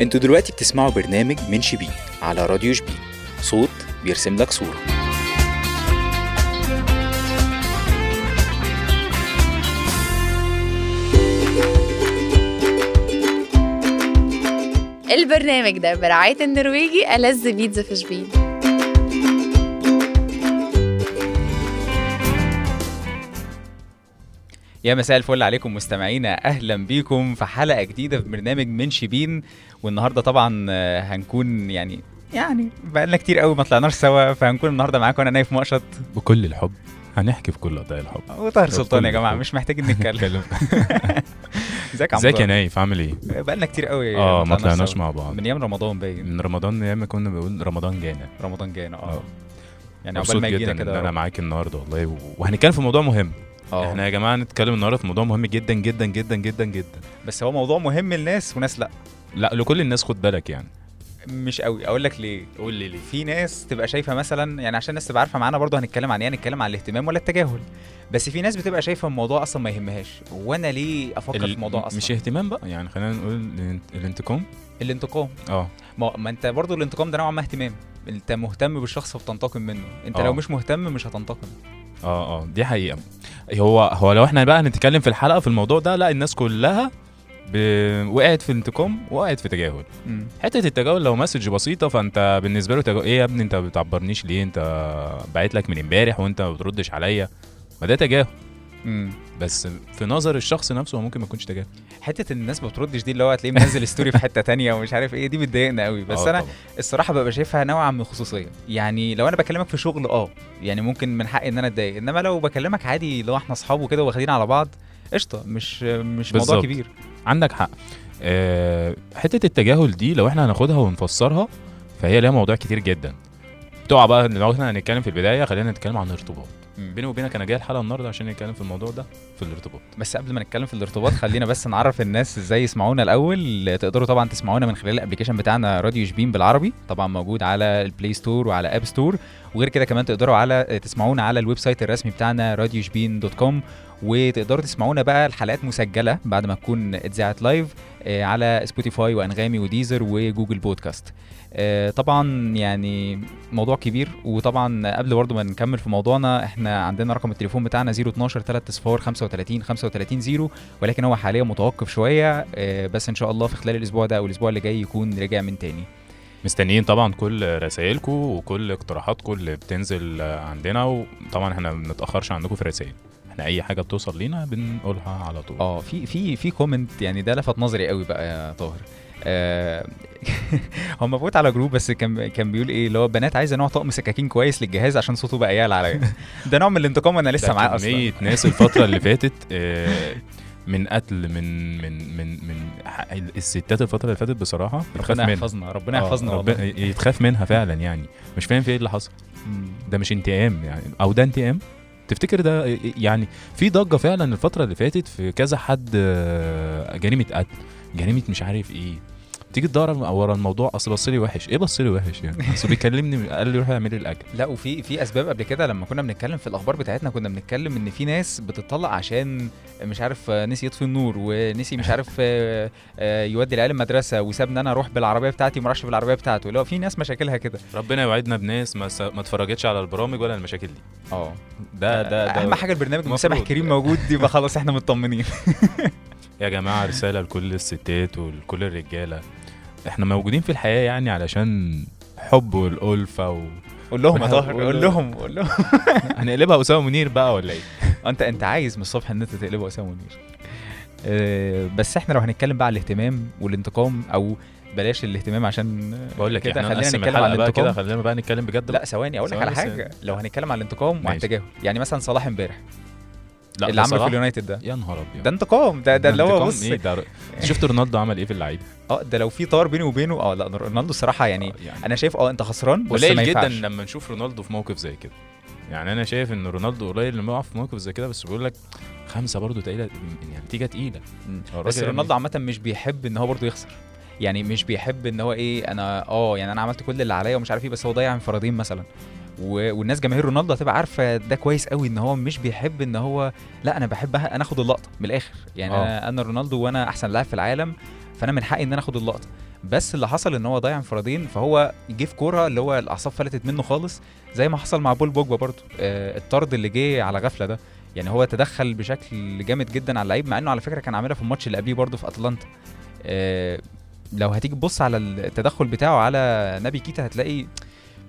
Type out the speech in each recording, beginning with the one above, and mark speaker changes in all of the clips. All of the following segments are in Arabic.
Speaker 1: انتوا دلوقتي بتسمعوا برنامج من شبين على راديو شبين صوت بيرسم لك صورة
Speaker 2: البرنامج ده برعاية النرويجي ألذ بيتزا في شبين
Speaker 1: يا مساء الفل عليكم مستمعينا اهلا بيكم في حلقه جديده في برنامج من شبين والنهارده طبعا آه، هنكون يعني يعني بقالنا كتير قوي ما طلعناش سوا فهنكون النهارده معاكم انا نايف مقشط
Speaker 3: بكل الحب هنحكي في كل قضايا الحب
Speaker 1: وطاهر سلطان يا جماعه مش محتاجين نتكلم
Speaker 3: نتكلم
Speaker 1: ازيك يا عم
Speaker 3: ازيك يا
Speaker 1: طاهر؟
Speaker 3: نايف عامل ايه؟
Speaker 1: بقالنا كتير قوي
Speaker 3: اه ما
Speaker 1: سوا.
Speaker 3: طلعناش مع بعض
Speaker 1: من ايام رمضان باين
Speaker 3: من رمضان ياما كنا بنقول رمضان جانا
Speaker 1: رمضان جانا اه
Speaker 3: آه.
Speaker 1: يعني عقبال
Speaker 3: مبسوط
Speaker 1: ما
Speaker 3: جدا
Speaker 1: يجينا
Speaker 3: ان انا
Speaker 1: كده
Speaker 3: معاك النهارده والله و- وهنتكلم في موضوع مهم
Speaker 1: اه
Speaker 3: احنا يا جماعه هنتكلم النهارده في موضوع مهم جدا جدا جدا جدا جدا
Speaker 1: بس هو موضوع مهم لناس وناس لا
Speaker 3: لا لكل الناس خد بالك يعني
Speaker 1: مش قوي اقول لك ليه
Speaker 3: قول لي ليه
Speaker 1: في ناس تبقى شايفه مثلا يعني عشان الناس تبقى عارفه معانا برضه هنتكلم عن ايه هنتكلم عن الاهتمام ولا التجاهل بس في ناس بتبقى شايفه الموضوع اصلا ما يهمهاش وانا ليه افكر في الموضوع اصلا
Speaker 3: مش اهتمام بقى يعني خلينا نقول الانت- الانتقام
Speaker 1: الانتقام
Speaker 3: اه
Speaker 1: ما, ما انت برضه الانتقام ده نوعا ما اهتمام انت مهتم بالشخص فبتنتقم منه انت
Speaker 3: آه.
Speaker 1: لو مش مهتم مش هتنتقم
Speaker 3: اه اه دي حقيقه هو هو لو احنا بقى هنتكلم في الحلقه في الموضوع ده لا الناس كلها ب... وقعت في انتقام وقعت في تجاهل
Speaker 1: مم.
Speaker 3: حته التجاهل لو مسج بسيطه فانت بالنسبه له تجاهل ايه يا ابني انت ما بتعبرنيش ليه انت بعت لك من امبارح وانت ما بتردش عليا ما ده تجاهل
Speaker 1: مم.
Speaker 3: بس في نظر الشخص نفسه هو ممكن ما يكونش تجاهل
Speaker 1: حته ان الناس ما بتردش دي اللي هو هتلاقيه منزل ستوري في حته تانية ومش عارف ايه دي بتضايقنا قوي بس
Speaker 3: آه
Speaker 1: انا
Speaker 3: طبعاً.
Speaker 1: الصراحه ببقى شايفها نوعا من الخصوصيه يعني لو انا بكلمك في شغل اه يعني ممكن من حقي ان انا اتضايق انما لو بكلمك عادي لو احنا اصحاب وكده واخدين على بعض قشطه مش مش موضوع
Speaker 3: بالظبط.
Speaker 1: كبير
Speaker 3: عندك حق آه، حته التجاهل دي لو احنا هناخدها ونفسرها فهي ليها مواضيع كتير جدا بتوع بقى لو احنا هنتكلم في البدايه خلينا نتكلم عن الارتباط بيني وبينك انا جاي الحلقه النهارده عشان نتكلم في الموضوع ده في الارتباط
Speaker 1: بس قبل ما نتكلم في الارتباط خلينا بس نعرف الناس ازاي يسمعونا الاول تقدروا طبعا تسمعونا من خلال الابلكيشن بتاعنا راديو شبين بالعربي طبعا موجود على البلاي ستور وعلى اب ستور وغير كده كمان تقدروا على تسمعونا على الويب سايت الرسمي بتاعنا راديو شبين دوت كوم وتقدروا تسمعونا بقى الحلقات مسجله بعد ما تكون اتذاعت لايف آه، على سبوتيفاي وانغامي وديزر وجوجل بودكاست آه، طبعا يعني موضوع كبير وطبعا قبل برضه ما نكمل في موضوعنا احنا عندنا رقم التليفون بتاعنا 012 3 35 35 0 ولكن هو حاليا متوقف شويه آه، بس ان شاء الله في خلال الاسبوع ده او الاسبوع اللي جاي يكون رجع من تاني
Speaker 3: مستنيين طبعا كل رسائلكم وكل اقتراحاتكم اللي بتنزل آه، عندنا وطبعا احنا ما بنتاخرش عندكم في الرسائل احنا اي حاجه بتوصل لينا بنقولها على طول
Speaker 1: اه في في في كومنت يعني ده لفت نظري قوي بقى يا طاهر آه، هو مبعوت على جروب بس كان كان بيقول ايه اللي هو بنات عايزه نوع طقم سكاكين كويس للجهاز عشان صوته بقى يعلى عليا ده نوع من الانتقام انا لسه
Speaker 3: ده
Speaker 1: معاه اصلا
Speaker 3: كمية ناس الفترة اللي فاتت آه، من قتل من من من من ح- الستات الفترة اللي فاتت بصراحة بتخاف
Speaker 1: ربنا
Speaker 3: منها
Speaker 1: يحفظنا ربنا
Speaker 3: آه،
Speaker 1: يحفظنا والله.
Speaker 3: ربنا- يتخاف منها فعلا يعني مش فاهم في ايه اللي حصل
Speaker 1: مم.
Speaker 3: ده مش انتقام يعني او ده انتقام تفتكر ده يعني في ضجة فعلا الفترة اللي فاتت في كذا حد آه، جريمة قتل جريمة مش عارف ايه تيجي تدور ورا الموضوع اصل بص لي وحش ايه بص لي وحش يعني اصل بيكلمني قال لي روح اعمل لي الاكل
Speaker 1: لا وفي في اسباب قبل كده لما كنا بنتكلم في الاخبار بتاعتنا كنا بنتكلم ان في ناس بتطلق عشان مش عارف آه، نسي يطفي النور ونسي مش عارف آه، آه، يودي العيال المدرسه وسابني انا اروح بالعربيه بتاعتي وما راحش بالعربيه بتاعته اللي هو في ناس مشاكلها كده
Speaker 3: ربنا يوعدنا بناس ما, س... ما اتفرجتش على البرامج ولا المشاكل دي
Speaker 1: اه
Speaker 3: آه. ده ده ده
Speaker 1: اهم حاجه البرنامج إن مسامح
Speaker 3: مفروض.
Speaker 1: كريم موجود دي يبقى خلاص احنا مطمنين
Speaker 3: يا جماعه رساله لكل الستات ولكل الرجاله احنا موجودين في الحياه يعني علشان حب والالفه و...
Speaker 1: قول لهم يا
Speaker 3: والحق-
Speaker 1: طاهر قول
Speaker 3: قول
Speaker 1: لهم قول لهم
Speaker 3: هنقلبها اسامه منير بقى ولا ايه؟
Speaker 1: انت انت عايز من الصبح ان انت تقلبه اسامه منير آه، بس احنا لو هنتكلم بقى على الاهتمام والانتقام او بلاش الاهتمام عشان آه،
Speaker 3: بقول لك يعني
Speaker 1: كده
Speaker 3: احنا
Speaker 1: خلينا
Speaker 3: نقسم
Speaker 1: نتكلم
Speaker 3: الحلقه
Speaker 1: عن
Speaker 3: بقى كده
Speaker 1: الانتقام.
Speaker 3: خلينا بقى نتكلم بجد
Speaker 1: لا ثواني اقول لك على
Speaker 3: ثواني بس.
Speaker 1: حاجه لو هنتكلم على الانتقام وعن
Speaker 3: ماشي.
Speaker 1: التجاهل يعني مثلا صلاح امبارح اللي عمله في
Speaker 3: بصراحة-
Speaker 1: اليونايتد ده
Speaker 3: يا نهار ابيض
Speaker 1: ده انتقام ده ده اللي هو
Speaker 3: انتقام
Speaker 1: بص
Speaker 3: ايه ده شفت رونالدو عمل ايه في اللعيبه
Speaker 1: اه ده لو في طار بيني وبينه اه لا رونالدو الصراحه يعني
Speaker 3: آه، يعني
Speaker 1: انا شايف اه انت خسران بس ما
Speaker 3: قليل جدا
Speaker 1: ينفعش
Speaker 3: لما نشوف رونالدو في موقف زي كده يعني انا شايف ان رونالدو قليل لما يقع في موقف زي كده بس بيقول لك خمسه برضه تقيله يعني نتيجه تقيله
Speaker 1: مم.
Speaker 3: هو
Speaker 1: بس
Speaker 3: الراجل يعني
Speaker 1: رونالدو عامه مش بيحب ان هو برضه يخسر يعني مش بيحب ان هو ايه انا اه يعني انا عملت كل اللي عليا ومش عارف ايه بس هو ضيع انفرادين مثلا و... والناس جماهير رونالدو هتبقى عارفه ده كويس قوي ان هو مش بيحب ان هو لا انا بحبها انا اخد اللقطه من الاخر يعني
Speaker 3: آه.
Speaker 1: انا انا رونالدو وانا احسن لاعب في العالم فانا من حقي ان انا اخد اللقطه بس اللي حصل ان هو ضيع انفرادين فهو جه في كوره اللي هو الاعصاب فلتت منه خالص زي ما حصل مع بول بوجبا برضه آه الطرد اللي جه على غفله ده يعني هو تدخل بشكل جامد جدا على اللعيب مع انه على فكره كان عاملها في الماتش اللي قبليه برضه في اتلانتا آه لو هتيجي تبص على التدخل بتاعه على نبي كيتا هتلاقي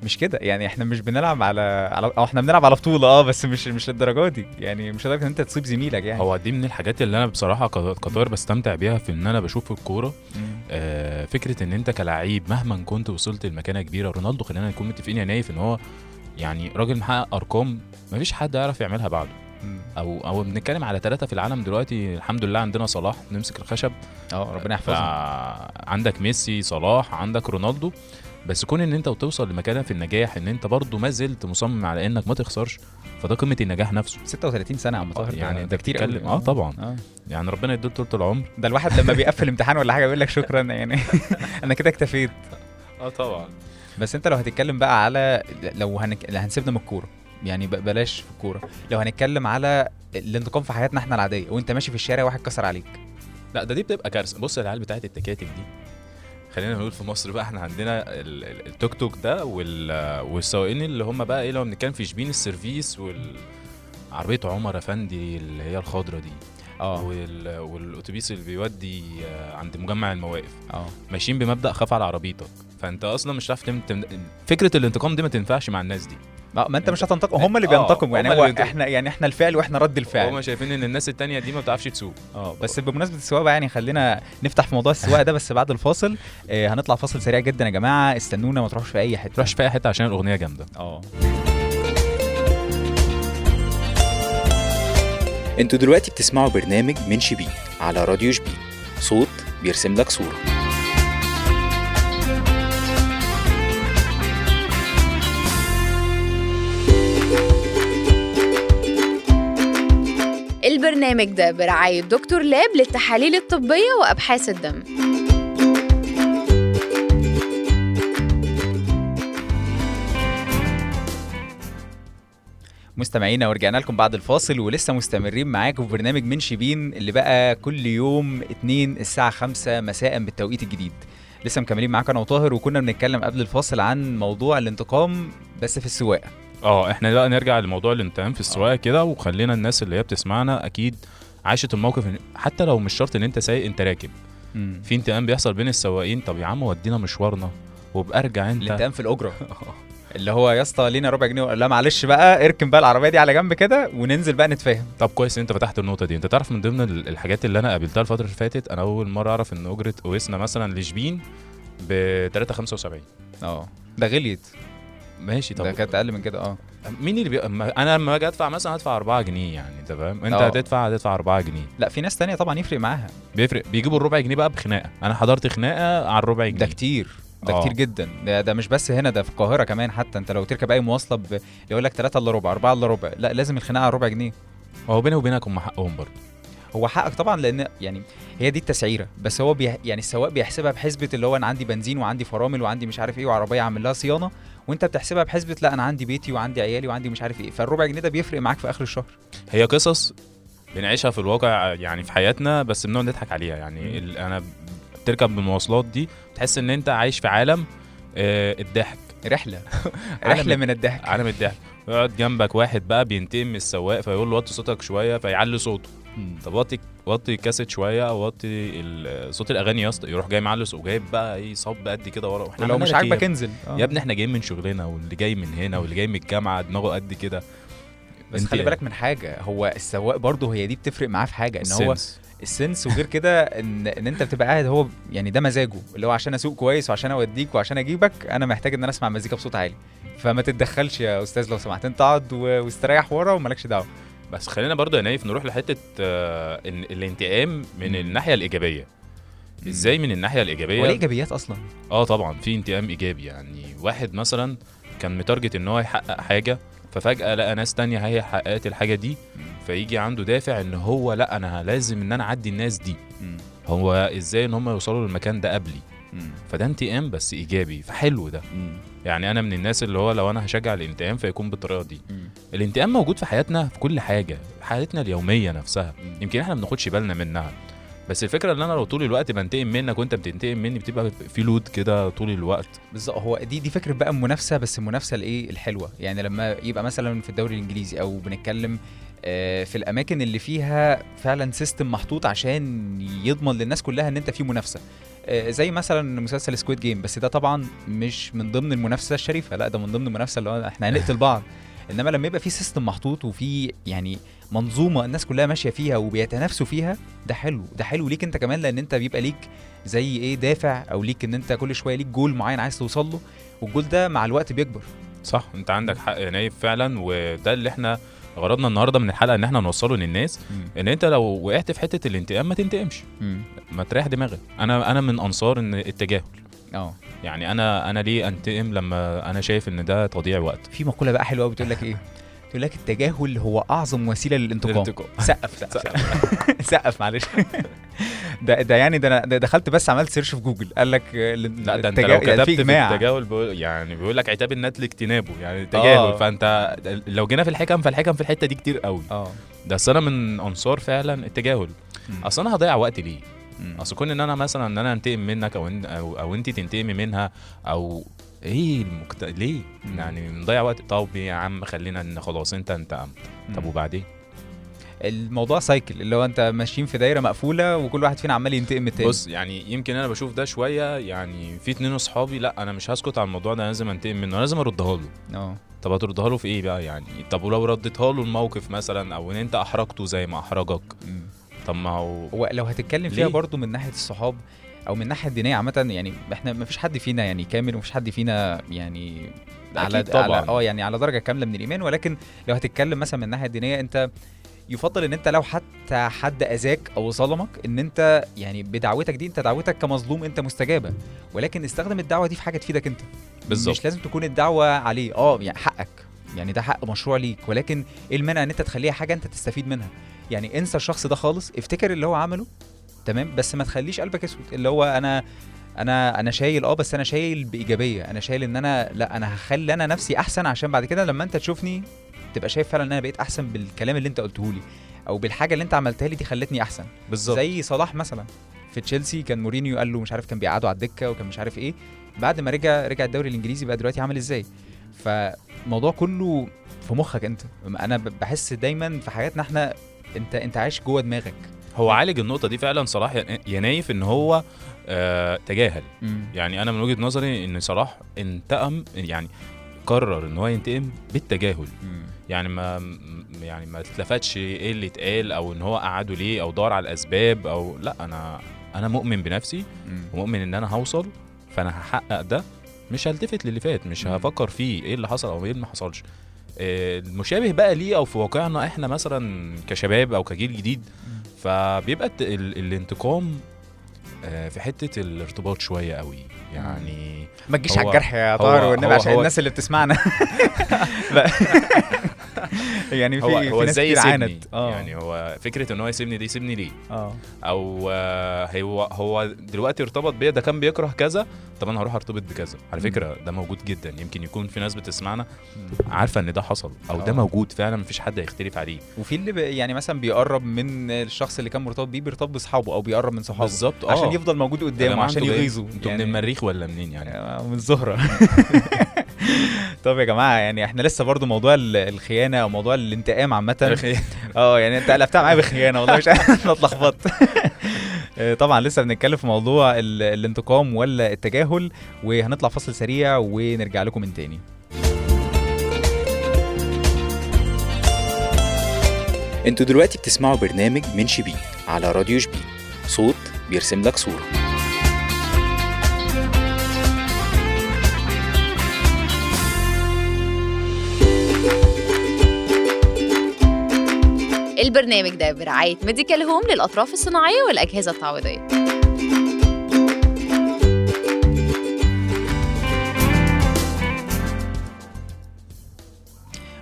Speaker 1: مش كده يعني احنا مش بنلعب على على او احنا بنلعب على بطوله اه بس مش مش للدرجه دي يعني مش لدرجه ان انت تصيب زميلك يعني
Speaker 3: هو دي من الحاجات اللي انا بصراحه ك- كطاير بستمتع بيها في ان انا بشوف الكوره
Speaker 1: مم.
Speaker 3: آه، فكره ان انت كلعيب مهما كنت وصلت لمكانه كبيره رونالدو خلينا نكون متفقين يا نايف ان هو يعني راجل محقق ارقام مفيش حد يعرف يعملها بعده
Speaker 1: مم.
Speaker 3: او او بنتكلم على ثلاثه في العالم دلوقتي الحمد لله عندنا صلاح نمسك الخشب
Speaker 1: اه ربنا يحفظه
Speaker 3: فعندك ميسي صلاح عندك رونالدو بس كون ان انت وتوصل لمكانه في النجاح ان انت برضو ما زلت مصمم على انك ما تخسرش فده قمه النجاح نفسه
Speaker 1: 36 سنه يا عم طاهر ده-
Speaker 3: يعني
Speaker 1: ده
Speaker 3: انت
Speaker 1: كتير قوي
Speaker 3: بتتكلم- اه طبعا
Speaker 1: اه
Speaker 3: يعني ربنا يديله طول العمر
Speaker 1: ده الواحد لما بيقفل امتحان ولا حاجه بيقول لك شكرا يعني انا كده اكتفيت
Speaker 3: اه طبعا
Speaker 1: بس انت لو هتتكلم بقى على لو هنك... لو هنسيبنا من الكوره يعني ب- بلاش في الكوره لو هنتكلم على الانتقام في حياتنا احنا العاديه وانت ماشي في الشارع واحد كسر عليك
Speaker 3: لا ده دي بتبقى كارثه بص العيال بتاعت التكاتك دي خلينا نقول في مصر بقى احنا عندنا ال- ال- التوك توك ده وال- والسواقين اللي هم بقى ايه لو بنتكلم في شبين السيرفيس وال عربية عمر افندي اللي هي الخضرة دي آه.
Speaker 1: اه
Speaker 3: وال... والاتوبيس اللي بيودي آه، عند مجمع المواقف
Speaker 1: اه
Speaker 3: ماشيين بمبدأ خاف على عربيتك فانت اصلا مش هتعرف تم... تم... فكرة الانتقام دي ما تنفعش مع الناس دي
Speaker 1: ما ما انت مش هتنتقم
Speaker 3: آه،
Speaker 1: هم اللي بينتقموا يعني
Speaker 3: هم
Speaker 1: هو
Speaker 3: اللي بينتقموا.
Speaker 1: احنا يعني احنا الفعل واحنا رد الفعل
Speaker 3: هم شايفين ان الناس التانية دي ما بتعرفش تسوق
Speaker 1: اه بس بمناسبه السواقه بقى يعني خلينا نفتح في موضوع السواقه ده بس بعد الفاصل آه هنطلع فاصل سريع جدا يا جماعه استنونا ما تروحوش في اي حته
Speaker 3: تروحش في اي حتة عشان الاغنية جامدة
Speaker 1: اه انتوا دلوقتي بتسمعوا برنامج من شبين على راديو شبين صوت بيرسم لك صورة
Speaker 2: البرنامج ده برعاية دكتور لاب للتحاليل الطبية وأبحاث الدم
Speaker 1: مستمعينا ورجعنا لكم بعد الفاصل ولسه مستمرين معاكم في برنامج من شبين اللي بقى كل يوم اتنين الساعة خمسة مساء بالتوقيت الجديد لسه مكملين معاك انا وطاهر وكنا بنتكلم قبل الفاصل عن موضوع الانتقام بس في السواقة
Speaker 3: اه احنا بقى نرجع لموضوع الانتقام في
Speaker 1: اه.
Speaker 3: السواقه كده وخلينا الناس اللي هي بتسمعنا اكيد عاشت الموقف إن- حتى لو مش شرط ان انت سايق انت راكب في انتقام بيحصل بين السواقين طب يا عم ودينا مشوارنا وبارجع انت
Speaker 1: الانتقام في الأجرة اللي هو يا اسطى لينا ربع جنيه لا معلش بقى اركن بقى العربية دي على جنب كده وننزل بقى نتفاهم
Speaker 3: طب كويس ان انت فتحت النقطه دي انت تعرف من ضمن ال- الحاجات اللي انا قابلتها الفتره اللي فاتت انا اول مره اعرف ان اجره قويسنا مثلا لشبين ب 3.75
Speaker 1: اه ده غليت
Speaker 3: ماشي
Speaker 1: ده
Speaker 3: طب
Speaker 1: كانت اقل من كده اه
Speaker 3: مين اللي بي... ما- انا لما اجي ادفع مثلا هدفع 4 جنيه يعني انت فاهم انت
Speaker 1: اه.
Speaker 3: هتدفع هتدفع 4 جنيه
Speaker 1: لا في ناس تانية طبعا يفرق معاها
Speaker 3: بيفرق بيجيبوا الربع جنيه بقى بخناقه انا حضرت خناقه على الربع جنيه
Speaker 1: ده كتير ده
Speaker 3: آه.
Speaker 1: كتير جدا ده, ده مش بس هنا ده في القاهره كمان حتى انت لو تركب اي مواصله ب... يقول لك 3 الا ربع 4 الا ربع لا لازم الخناقه على ربع جنيه
Speaker 3: هو بيني وبينك هم حقهم برضه
Speaker 1: هو حقك طبعا لان يعني هي دي التسعيره بس هو بيه يعني السواق بيحسبها بحسبه اللي هو انا عندي بنزين وعندي فرامل وعندي مش عارف ايه وعربيه عامل لها صيانه وانت بتحسبها بحسبه لا انا عندي بيتي وعندي عيالي وعندي مش عارف ايه فالربع جنيه ده بيفرق معاك في اخر الشهر
Speaker 3: هي قصص بنعيشها في الواقع يعني في حياتنا بس بنقعد نضحك عليها يعني ال- انا بتركب بالمواصلات دي بتحس ان انت عايش في عالم آه، الضحك
Speaker 1: رحله رحله من الضحك
Speaker 3: عالم الضحك يقعد جنبك واحد بقى بينتقم من السواق فيقول له وطي صوتك شويه فيعلي صوته طب وطي وطي الكاسيت شويه او وطي ال- صوت الاغاني يا اسطى يروح جاي معلس وجايب بقى ايه صب قد كده ورا واحنا
Speaker 1: ولو
Speaker 3: عمالنا
Speaker 1: مش
Speaker 3: نتكلم.
Speaker 1: عاجبك انزل آه.
Speaker 3: يا ابني احنا جايين من شغلنا واللي جاي من هنا واللي جاي من الجامعه دماغه قد كده
Speaker 1: آه. بس
Speaker 3: انت-
Speaker 1: خلي بالك من حاجه هو السواق برضه هي دي بتفرق معاه في حاجه ان هو
Speaker 3: السنس.
Speaker 1: السنس وغير كده ان ان انت بتبقى قاعد هو يعني ده مزاجه اللي هو عشان اسوق كويس وعشان اوديك وعشان اجيبك انا محتاج ان انا اسمع مزيكا بصوت عالي فما تتدخلش يا استاذ لو سمحت انت اقعد و- واستريح ورا ومالكش دعوه
Speaker 3: بس خلينا برضه يا نايف نروح لحته آه، إن الانتقام من
Speaker 1: مم.
Speaker 3: الناحيه الايجابيه ازاي من الناحيه
Speaker 1: هو ليه
Speaker 3: الايجابيه
Speaker 1: ايجابيات اصلا
Speaker 3: اه طبعا في انتقام ايجابي يعني واحد مثلا كان متارجت ان هو يحقق حاجه ففجاه لقى ناس تانية هي حققت الحاجه دي فيجي عنده دافع ان هو لا انا لازم ان انا اعدي الناس دي هو ازاي ان هم يوصلوا للمكان ده قبلي فده انتقام بس ايجابي فحلو ده يعني انا من الناس اللي هو لو انا هشجع الانتقام فيكون بالطريقه دي الانتقام موجود في حياتنا في كل حاجه حياتنا اليوميه نفسها يمكن احنا ما بناخدش بالنا منها بس الفكره ان انا لو طول الوقت بنتقم منك وانت بتنتقم مني بتبقى في لود كده طول الوقت
Speaker 1: بالظبط هو دي دي فكره بقى المنافسه بس المنافسه الايه الحلوه يعني لما يبقى مثلا في الدوري الانجليزي او بنتكلم آه، في الاماكن اللي فيها فعلا سيستم محطوط عشان يضمن للناس كلها ان انت في منافسه آه، زي مثلا مسلسل سكويد جيم بس ده طبعا مش من ضمن المنافسه الشريفه لا ده من ضمن المنافسه اللي هو احنا هنقتل بعض انما لما يبقى في سيستم محطوط وفي يعني منظومه الناس كلها ماشيه فيها وبيتنافسوا فيها ده حلو ده حلو ليك انت كمان لان انت بيبقى ليك زي ايه دافع او ليك ان انت كل شويه ليك جول معين عايز توصل له والجول ده مع الوقت بيكبر
Speaker 3: صح انت عندك حق يا نايف فعلا وده اللي احنا غرضنا النهارده من الحلقه ان احنا نوصله للناس ان انت لو وقعت في حته الانتقام ما تنتقمش ما تريح دماغك انا انا من انصار ان التجاهل
Speaker 1: اه
Speaker 3: يعني انا انا ليه انتقم لما انا شايف ان ده تضييع وقت
Speaker 1: في مقوله بقى حلوه قوي بتقول لك ايه بتقول لك التجاهل هو اعظم وسيله للانتقام
Speaker 3: الانتقام.
Speaker 1: سقف سقف سقف. سقف معلش ده ده يعني ده انا ده دخلت بس عملت سيرش في جوجل قال لك آه، ال-
Speaker 3: لا ده انت
Speaker 1: التجا-
Speaker 3: لو
Speaker 1: يعني
Speaker 3: كتبت
Speaker 1: في
Speaker 3: في
Speaker 1: اجماع
Speaker 3: التجاهل بيقول يعني بيقول لك عتاب الندل اجتنابه يعني
Speaker 1: آه.
Speaker 3: التجاهل فانت لو جينا في الحكم فالحكم في الحته دي كتير قوي
Speaker 1: اه
Speaker 3: ده اصل انا من انصار فعلا التجاهل
Speaker 1: مم.
Speaker 3: اصل انا هضيع وقت ليه
Speaker 1: مم.
Speaker 3: اصل كون ان انا مثلا ان انا انتقم منك او إن او, أو انت تنتقمي منها او ايه المكت... ليه
Speaker 1: مم.
Speaker 3: يعني نضيع وقت طب يا عم خلينا ان خلاص انت انتقمت طب
Speaker 1: مم.
Speaker 3: وبعدين
Speaker 1: الموضوع سايكل اللي هو انت ماشيين في دايره مقفوله وكل واحد فينا عمال ينتقم من التاني
Speaker 3: بص يعني يمكن انا بشوف ده شويه يعني في اتنين اصحابي لا انا مش هسكت على الموضوع ده أنا لازم انتقم منه أنا لازم اردها له
Speaker 1: اه
Speaker 3: طب هتردها له في ايه بقى يعني طب ولو رديتها له الموقف مثلا او ان انت احرجته زي ما احرجك
Speaker 1: مم.
Speaker 3: طب ما هو
Speaker 1: هو لو هتتكلم فيها
Speaker 3: ليه؟
Speaker 1: برضو من ناحيه الصحاب او من الناحيه الدينيه عامه يعني احنا ما فيش حد فينا يعني كامل ومفيش حد فينا يعني على
Speaker 3: أكيد طبعاً.
Speaker 1: على اه يعني على درجه كامله من الايمان ولكن لو هتتكلم مثلا من الناحيه الدينيه انت يفضل ان انت لو حتى حد اذاك او ظلمك ان انت يعني بدعوتك دي انت دعوتك كمظلوم انت مستجابه ولكن استخدم الدعوه دي في حاجه تفيدك انت
Speaker 3: بالظبط.
Speaker 1: مش لازم تكون الدعوه عليه اه يعني حقك يعني ده حق مشروع ليك ولكن ايه المانع ان انت تخليها حاجه انت تستفيد منها يعني انسى الشخص ده خالص افتكر اللي هو عمله تمام بس ما تخليش قلبك اسود اللي هو انا انا انا شايل اه بس انا شايل بايجابيه انا شايل ان انا لا انا هخلي انا نفسي احسن عشان بعد كده لما انت تشوفني تبقى شايف فعلا ان انا بقيت احسن بالكلام اللي انت قلته لي او بالحاجه اللي انت عملتها لي دي خلتني احسن
Speaker 3: بالظبط
Speaker 1: زي صلاح مثلا في تشيلسي كان مورينيو قال له مش عارف كان بيقعدوا على الدكه وكان مش عارف ايه بعد ما رجع رجع الدوري الانجليزي بقى دلوقتي عامل ازاي فالموضوع كله في مخك انت انا ب- بحس دايما في حياتنا احنا انت انت عايش جوه دماغك
Speaker 3: هو عالج النقطه دي فعلا صلاح ين- ينايف ان هو آه تجاهل يعني انا من وجهه نظري ان صلاح انتقم يعني قرر ان هو ينتقم بالتجاهل
Speaker 1: مم.
Speaker 3: يعني ما م- يعني ما اتلفتش ايه اللي اتقال او ان هو قعده ليه او دور على الاسباب او لا انا انا مؤمن بنفسي
Speaker 1: مم.
Speaker 3: ومؤمن ان انا هوصل فانا هحقق ده مش هلتفت للي فات مش
Speaker 1: مم.
Speaker 3: هفكر فيه ايه اللي حصل او ايه اللي ما حصلش آه، المشابه بقى ليه او في واقعنا احنا مثلا كشباب او كجيل جديد
Speaker 1: مم.
Speaker 3: فبيبقى الت- ال- الانتقام آه، في حته الارتباط شويه قوي يعني
Speaker 1: ما تجيش
Speaker 3: هو-
Speaker 1: على الجرح يا
Speaker 3: هو-
Speaker 1: طاهر والنبي
Speaker 3: هو-
Speaker 1: عشان
Speaker 3: هو-
Speaker 1: الناس اللي بتسمعنا لا. يعني في
Speaker 3: هو
Speaker 1: في
Speaker 3: هو
Speaker 1: ناس
Speaker 3: ازاي
Speaker 1: كتير
Speaker 3: يسيبني
Speaker 1: عانت اه
Speaker 3: يعني هو فكره ان هو يسيبني دي يسيبني ليه
Speaker 1: اه
Speaker 3: او آه، هو هو دلوقتي ارتبط بيا ده كان بيكره كذا طب انا هروح ارتبط بكذا على
Speaker 1: مم.
Speaker 3: فكره ده موجود جدا يمكن يكون في ناس بتسمعنا
Speaker 1: مم.
Speaker 3: عارفه ان ده حصل او
Speaker 1: آه.
Speaker 3: ده موجود فعلا مفيش حد هيختلف عليه
Speaker 1: وفي اللي بي- يعني مثلا بيقرب من الشخص اللي كان مرتبط بيه بيرتبط باصحابه او بيقرب من صحابه
Speaker 3: بالظبط اه
Speaker 1: عشان يفضل موجود
Speaker 3: يا جماعة
Speaker 1: قدامه عشان
Speaker 3: انتوا جايين-
Speaker 1: يغيظه
Speaker 3: انتوا من المريخ ولا منين يعني
Speaker 1: آه، من الزهره طب يا جماعه يعني احنا لسه برضو موضوع ال- الخيانه او موضوع الانتقام عامه
Speaker 3: تاريخ-
Speaker 1: اه يعني انت قلبتها معايا بخيانه والله مش عارف انا اتلخبطت آه، طبعا لسه بنتكلم في موضوع ال- الانتقام ولا التجاهل وهنطلع فصل سريع ونرجع لكم من تاني
Speaker 4: انتوا دلوقتي بتسمعوا برنامج من شبيه على راديو شبيه صوت بيرسم لك صورة
Speaker 2: البرنامج ده برعاية ميديكال هوم للأطراف الصناعية والأجهزة التعويضية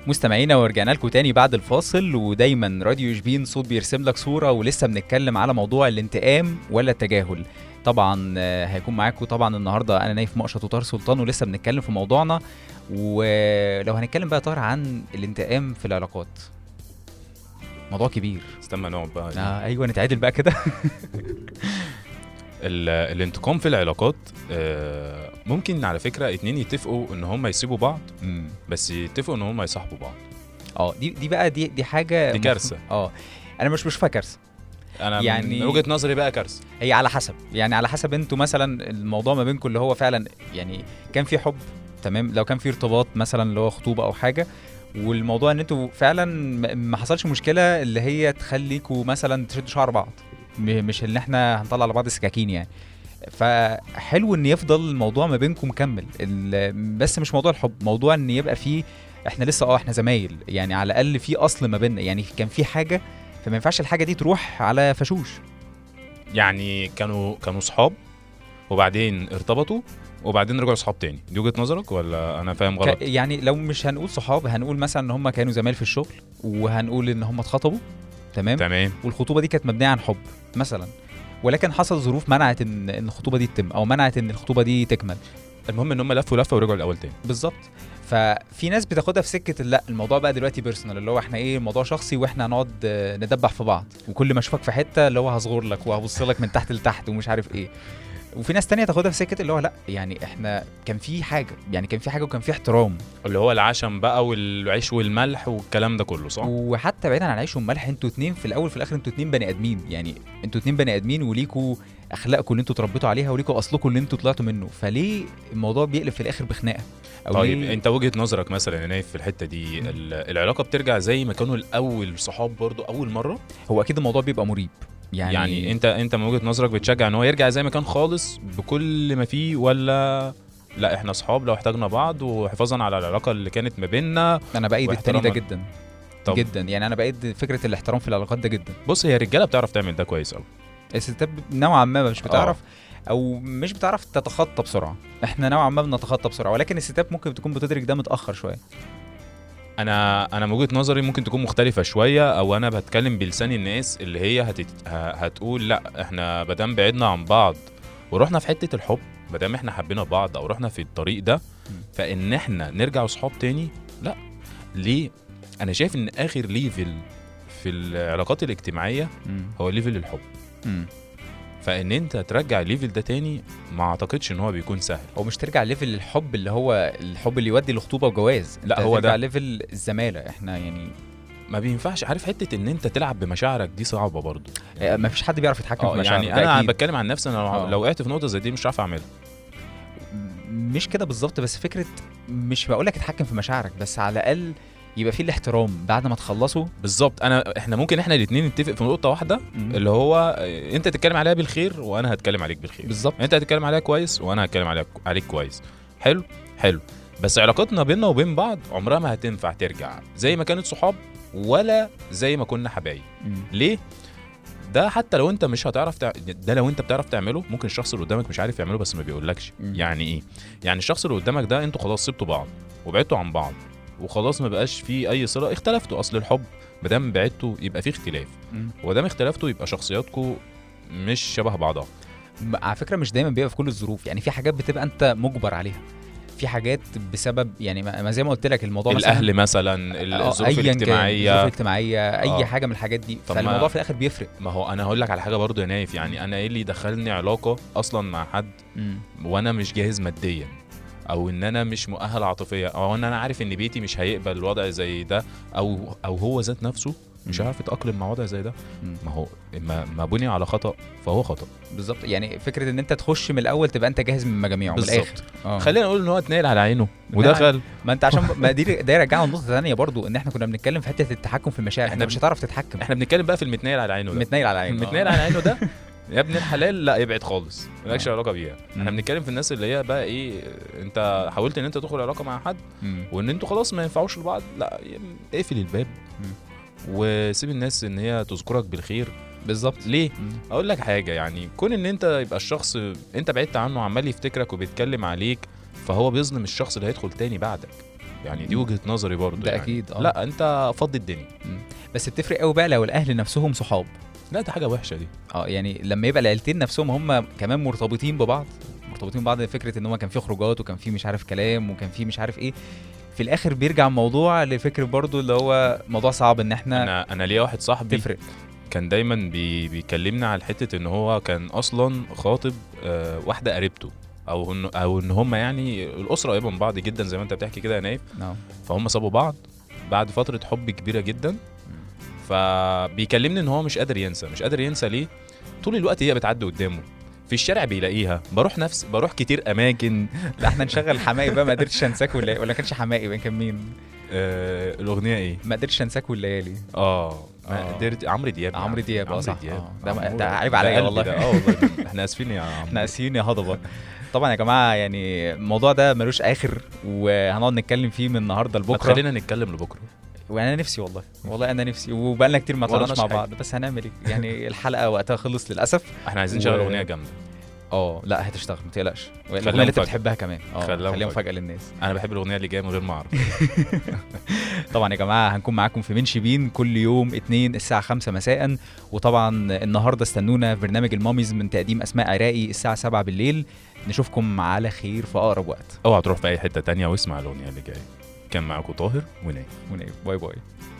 Speaker 1: مستمعينا ورجعنا لكم تاني بعد الفاصل ودايما راديو شبين صوت بيرسم لك صوره ولسه بنتكلم على موضوع الانتقام ولا التجاهل طبعا آه، هيكون معاكم طبعا النهارده انا نايف مقشط وطار سلطان ولسه بنتكلم في موضوعنا ولو هنتكلم بقى طار عن الانتقام في العلاقات موضوع كبير
Speaker 3: استنى نقعد بقى
Speaker 1: آه ايوه نتعادل بقى كده
Speaker 3: ال- الانتقام في العلاقات آه، ممكن على فكره اتنين يتفقوا ان هم يسيبوا بعض
Speaker 1: مم.
Speaker 3: بس يتفقوا ان هم يصاحبوا بعض
Speaker 1: اه دي دي بقى دي دي حاجه
Speaker 3: دي كارثه
Speaker 1: اه انا مش بشوفها كارثه
Speaker 3: انا يعني
Speaker 1: يعني-
Speaker 3: من وجهه نظري بقى كارثه
Speaker 1: هي على حسب يعني على حسب انتوا مثلا الموضوع ما بينكم اللي هو فعلا يعني كان في حب تمام لو كان في ارتباط مثلا اللي هو خطوبه او حاجه والموضوع ان انتوا فعلا ما- ما حصلش مشكله اللي هي تخليكوا مثلا تشدوا شعر بعض م- مش ان احنا هنطلع على بعض السكاكين يعني فحلو ان يفضل الموضوع ما بينكم مكمل ال- بس مش موضوع الحب موضوع ان يبقى فيه احنا لسه اه احنا زمايل يعني على الاقل في اصل ما بيننا يعني كان في حاجه فما ينفعش الحاجه دي تروح على فشوش
Speaker 3: يعني كانوا كانوا صحاب وبعدين ارتبطوا وبعدين رجعوا صحاب تاني دي وجهه نظرك ولا انا فاهم غلط
Speaker 1: ك... يعني لو مش هنقول صحاب هنقول مثلا ان هم كانوا زمايل في الشغل وهنقول ان هم اتخطبوا تمام
Speaker 3: تمام
Speaker 1: والخطوبه دي كانت مبنيه عن حب مثلا ولكن حصل ظروف منعت ان إن الخطوبه دي تتم او منعت ان الخطوبه دي تكمل
Speaker 3: المهم ان هم لفوا لفه ورجعوا الاول تاني
Speaker 1: بالظبط ففي ناس بتاخدها في سكه لا الموضوع بقى دلوقتي بيرسونال اللي هو احنا ايه الموضوع شخصي واحنا هنقعد آه، ندبح في بعض وكل ما اشوفك في حته اللي هو هصغر لك وهبص لك من تحت لتحت ومش عارف ايه وفي ناس تانية تاخدها في سكه اللي هو لا يعني احنا كان في حاجه يعني كان في حاجه وكان في احترام
Speaker 3: اللي هو العشم بقى والعيش والملح والكلام ده كله صح
Speaker 1: وحتى بعيدا عن العيش والملح انتوا اتنين في الاول في الاخر انتوا اتنين بني ادمين يعني انتوا اتنين بني ادمين وليكوا اخلاقكم اللي انتوا اتربيتوا عليها وليكوا اصلكم اللي انتوا طلعتوا منه فليه الموضوع بيقلب في الاخر بخناقه او
Speaker 3: طيب
Speaker 1: ليه-
Speaker 3: انت وجهه نظرك مثلا يا نايف في الحته دي ال- العلاقه بترجع زي ما كانوا الاول صحاب برضو اول مره
Speaker 1: هو اكيد الموضوع بيبقى مريب يعني,
Speaker 3: يعني, يعني انت انت من وجهه نظرك بتشجع ان هو يرجع زي ما كان خالص بكل ما فيه ولا لا احنا اصحاب لو احتاجنا بعض وحفاظا على العلاقه اللي كانت ما بيننا
Speaker 1: انا بايد التاني ده
Speaker 3: واحتراما.
Speaker 1: جدا
Speaker 3: طب.
Speaker 1: طب. جدا يعني انا بايد فكره الاحترام في العلاقات ده جدا
Speaker 3: بص هي الرجاله بتعرف تعمل ده كويس قوي
Speaker 1: الستات نوعا ما
Speaker 3: آه.
Speaker 1: مش بتعرف او مش بتعرف تتخطى بسرعه احنا نوعا ما بنتخطى بسرعه ولكن الستات ممكن تكون بتدرك ده متاخر شويه
Speaker 3: انا انا من وجهه نظري ممكن تكون مختلفه شويه او انا بتكلم بلسان الناس اللي هي هتت... ه- هتقول لا احنا ما دام بعدنا عن بعض ورحنا في حته الحب ما دام احنا حبينا بعض او رحنا في الطريق ده فان احنا نرجع اصحاب تاني لا ليه انا شايف ان اخر ليفل في العلاقات الاجتماعيه
Speaker 1: امم
Speaker 3: هو ليفل الحب فان انت ترجع الليفل ده تاني ما اعتقدش ان هو بيكون سهل
Speaker 1: هو مش ترجع ليفل الحب اللي هو الحب اللي يودي لخطوبه وجواز
Speaker 3: لا،
Speaker 1: أنت
Speaker 3: هو
Speaker 1: هترجع
Speaker 3: ده.
Speaker 1: ليفل الزماله احنا يعني
Speaker 3: ما بينفعش عارف حته ان انت تلعب بمشاعرك دي صعبه برضه
Speaker 1: ما فيش حد بيعرف يتحكم في
Speaker 3: اه
Speaker 1: مشاعره
Speaker 3: يعني
Speaker 1: ده
Speaker 3: انا
Speaker 1: أكيد.
Speaker 3: بتكلم عن نفسي انا لو-
Speaker 1: آه.
Speaker 3: لو وقعت في نقطه زي دي مش عارف اعملها
Speaker 1: مش كده بالظبط بس فكره مش بقول لك اتحكم في مشاعرك بس على الاقل يبقى في الاحترام بعد ما تخلصوا
Speaker 3: بالظبط انا احنا ممكن احنا الاثنين نتفق في نقطه واحده اللي هو آه، انت تتكلم عليها بالخير وانا هتكلم عليك بالخير
Speaker 1: بالظبط
Speaker 3: انت هتتكلم عليها كويس وانا هتكلم عليك عليك كويس حلو حلو بس علاقتنا بيننا وبين بعض عمرها ما هتنفع ترجع زي ما كانت صحاب ولا زي ما كنا حبايب
Speaker 1: مم.
Speaker 3: ليه ده حتى لو انت مش هتعرف تع... ده لو انت بتعرف تعمله ممكن الشخص اللي قدامك مش عارف يعمله بس ما بيقولكش
Speaker 1: مم.
Speaker 3: يعني ايه يعني الشخص اللي قدامك ده انتوا خلاص سبتوا بعض وبعدتوا عن بعض وخلاص ما بقاش في اي صله اختلفتوا اصل الحب ما دام بعدتوا يبقى في اختلاف
Speaker 1: مم.
Speaker 3: ودام اختلفتوا يبقى شخصياتكم مش شبه بعضها
Speaker 1: م- على فكره مش دايما بيبقى في كل الظروف يعني في حاجات بتبقى انت مجبر عليها في حاجات بسبب يعني ما ما زي ما قلت لك الموضوع مثلاً-
Speaker 3: الاهل مثلا
Speaker 1: آه،
Speaker 3: الظروف
Speaker 1: أياً كان، الظروف
Speaker 3: الاجتماعيه
Speaker 1: الاجتماعيه
Speaker 3: آه.
Speaker 1: اي حاجه من الحاجات دي
Speaker 3: طب ما-
Speaker 1: فالموضوع في الاخر بيفرق
Speaker 3: ما هو انا هقول لك على حاجه برضو يا نايف يعني انا ايه اللي دخلني علاقه اصلا مع حد
Speaker 1: مم.
Speaker 3: وانا مش جاهز ماديا او ان انا مش مؤهل عاطفيا او ان انا عارف ان بيتي مش هيقبل الوضع زي ده او او هو ذات نفسه مش
Speaker 1: مم.
Speaker 3: عارف يتاقلم مع وضع زي ده
Speaker 1: مم.
Speaker 3: ما هو ما, ما بني على خطا فهو خطا
Speaker 1: بالظبط يعني فكره ان انت تخش من الاول تبقى انت جاهز من مجاميعه من الاخر آه.
Speaker 3: خلينا نقول ان هو اتنقل على عينه
Speaker 1: اتنقل
Speaker 3: ودخل
Speaker 1: ما انت عشان ما دي ده يرجعنا لنقطه ثانيه برضو ان احنا كنا بنتكلم في حته التحكم في المشاعر
Speaker 3: احنا
Speaker 1: احنا مش هتعرف تتحكم
Speaker 3: احنا بنتكلم بقى في المتنقل على عينه ده
Speaker 1: متنايل على آه. عينك
Speaker 3: المتنقل على عينه ده يا ابن الحلال لا ابعد خالص مالكش
Speaker 1: آه.
Speaker 3: علاقه بيها احنا
Speaker 1: مم.
Speaker 3: بنتكلم في الناس اللي هي بقى ايه انت حاولت ان انت تدخل علاقه مع حد
Speaker 1: مم.
Speaker 3: وان انتوا خلاص ما ينفعوش لبعض لا يم- اقفل الباب
Speaker 1: مم.
Speaker 3: وسيب الناس ان هي تذكرك بالخير
Speaker 1: بالظبط
Speaker 3: ليه
Speaker 1: مم.
Speaker 3: اقول لك حاجه يعني كون ان انت يبقى الشخص انت بعدت عنه عمال يفتكرك وبيتكلم عليك فهو بيظلم الشخص اللي هيدخل تاني بعدك يعني دي وجهه نظري برضه
Speaker 1: ده
Speaker 3: يعني.
Speaker 1: اكيد اه
Speaker 3: لا انت فضي الدنيا
Speaker 1: بس بتفرق قوي بقى لو الاهل نفسهم صحاب
Speaker 3: لا دي حاجه وحشه دي
Speaker 1: اه يعني لما يبقى العيلتين نفسهم هم كمان مرتبطين ببعض مرتبطين ببعض فكره ان هم كان في خروجات وكان في مش عارف كلام وكان في مش عارف ايه في الاخر بيرجع الموضوع لفكره برضو اللي هو موضوع صعب ان احنا
Speaker 3: انا انا ليا واحد صاحبي
Speaker 1: تفرق
Speaker 3: كان دايما بي بيكلمنا على حته ان هو كان اصلا خاطب آه، واحده قريبته او ان او ان هم يعني الاسره قريبه من بعض جدا زي ما انت بتحكي كده يا نايف
Speaker 1: آه.
Speaker 3: فهم سابوا بعض بعد فتره حب كبيره جدا فبيكلمني ان هو مش قادر ينسى مش قادر ينسى ليه طول الوقت هي بتعدي قدامه في الشارع بيلاقيها بروح نفس بروح كتير اماكن
Speaker 1: لا احنا نشغل حماقي بقى ما قدرتش انساك ولا ولا كانش حماقي بقى كان مين
Speaker 3: آه الاغنيه ايه
Speaker 1: ما قدرتش انساك والليالي
Speaker 3: اه ما
Speaker 1: آه.
Speaker 3: قدرت عمرو دياب يا
Speaker 1: عمرو
Speaker 3: عم.
Speaker 1: دياب اه
Speaker 3: عمرو
Speaker 1: صح
Speaker 3: دياب.
Speaker 1: آه. ده ما- ده
Speaker 3: عمرو دياب.
Speaker 1: عيب عليا
Speaker 3: قلبي
Speaker 1: والله
Speaker 3: ده، اه والله احنا اسفين يا
Speaker 1: احنا
Speaker 3: عمرو
Speaker 1: اسفين يا هضبه طبعا يا جماعه يعني الموضوع ده ملوش اخر وهنقعد نتكلم فيه من النهارده
Speaker 3: ما
Speaker 1: لبكره
Speaker 3: تخلينا نتكلم لبكره
Speaker 1: وانا نفسي والله والله انا نفسي وبقالنا كتير ما
Speaker 3: ولا
Speaker 1: طلعناش مع
Speaker 3: ناس
Speaker 1: بعض بس هنعمل ايه يعني الحلقه وقتها خلص للاسف
Speaker 3: احنا عايزين
Speaker 1: و-
Speaker 3: نشغل اغنيه جامده
Speaker 1: اه لا هتشتغل ما تقلقش الاغنيه اللي انت
Speaker 3: مفاجأة.
Speaker 1: بتحبها كمان اه
Speaker 3: خليها
Speaker 1: خليها
Speaker 3: مفاجأة.
Speaker 1: مفاجاه للناس
Speaker 3: انا بحب الاغنيه اللي جايه من غير ما اعرف
Speaker 1: طبعا يا جماعه هنكون معاكم في منشي بين كل يوم اثنين الساعه 5 مساء وطبعا النهارده استنونا في برنامج الماميز من تقديم اسماء عراقي الساعه 7 بالليل نشوفكم على خير في اقرب وقت
Speaker 3: اوعى تروح في اي حته تانية واسمع الاغنيه اللي جايه كان معاكم طاهر ونايف
Speaker 1: ونقف. باي باي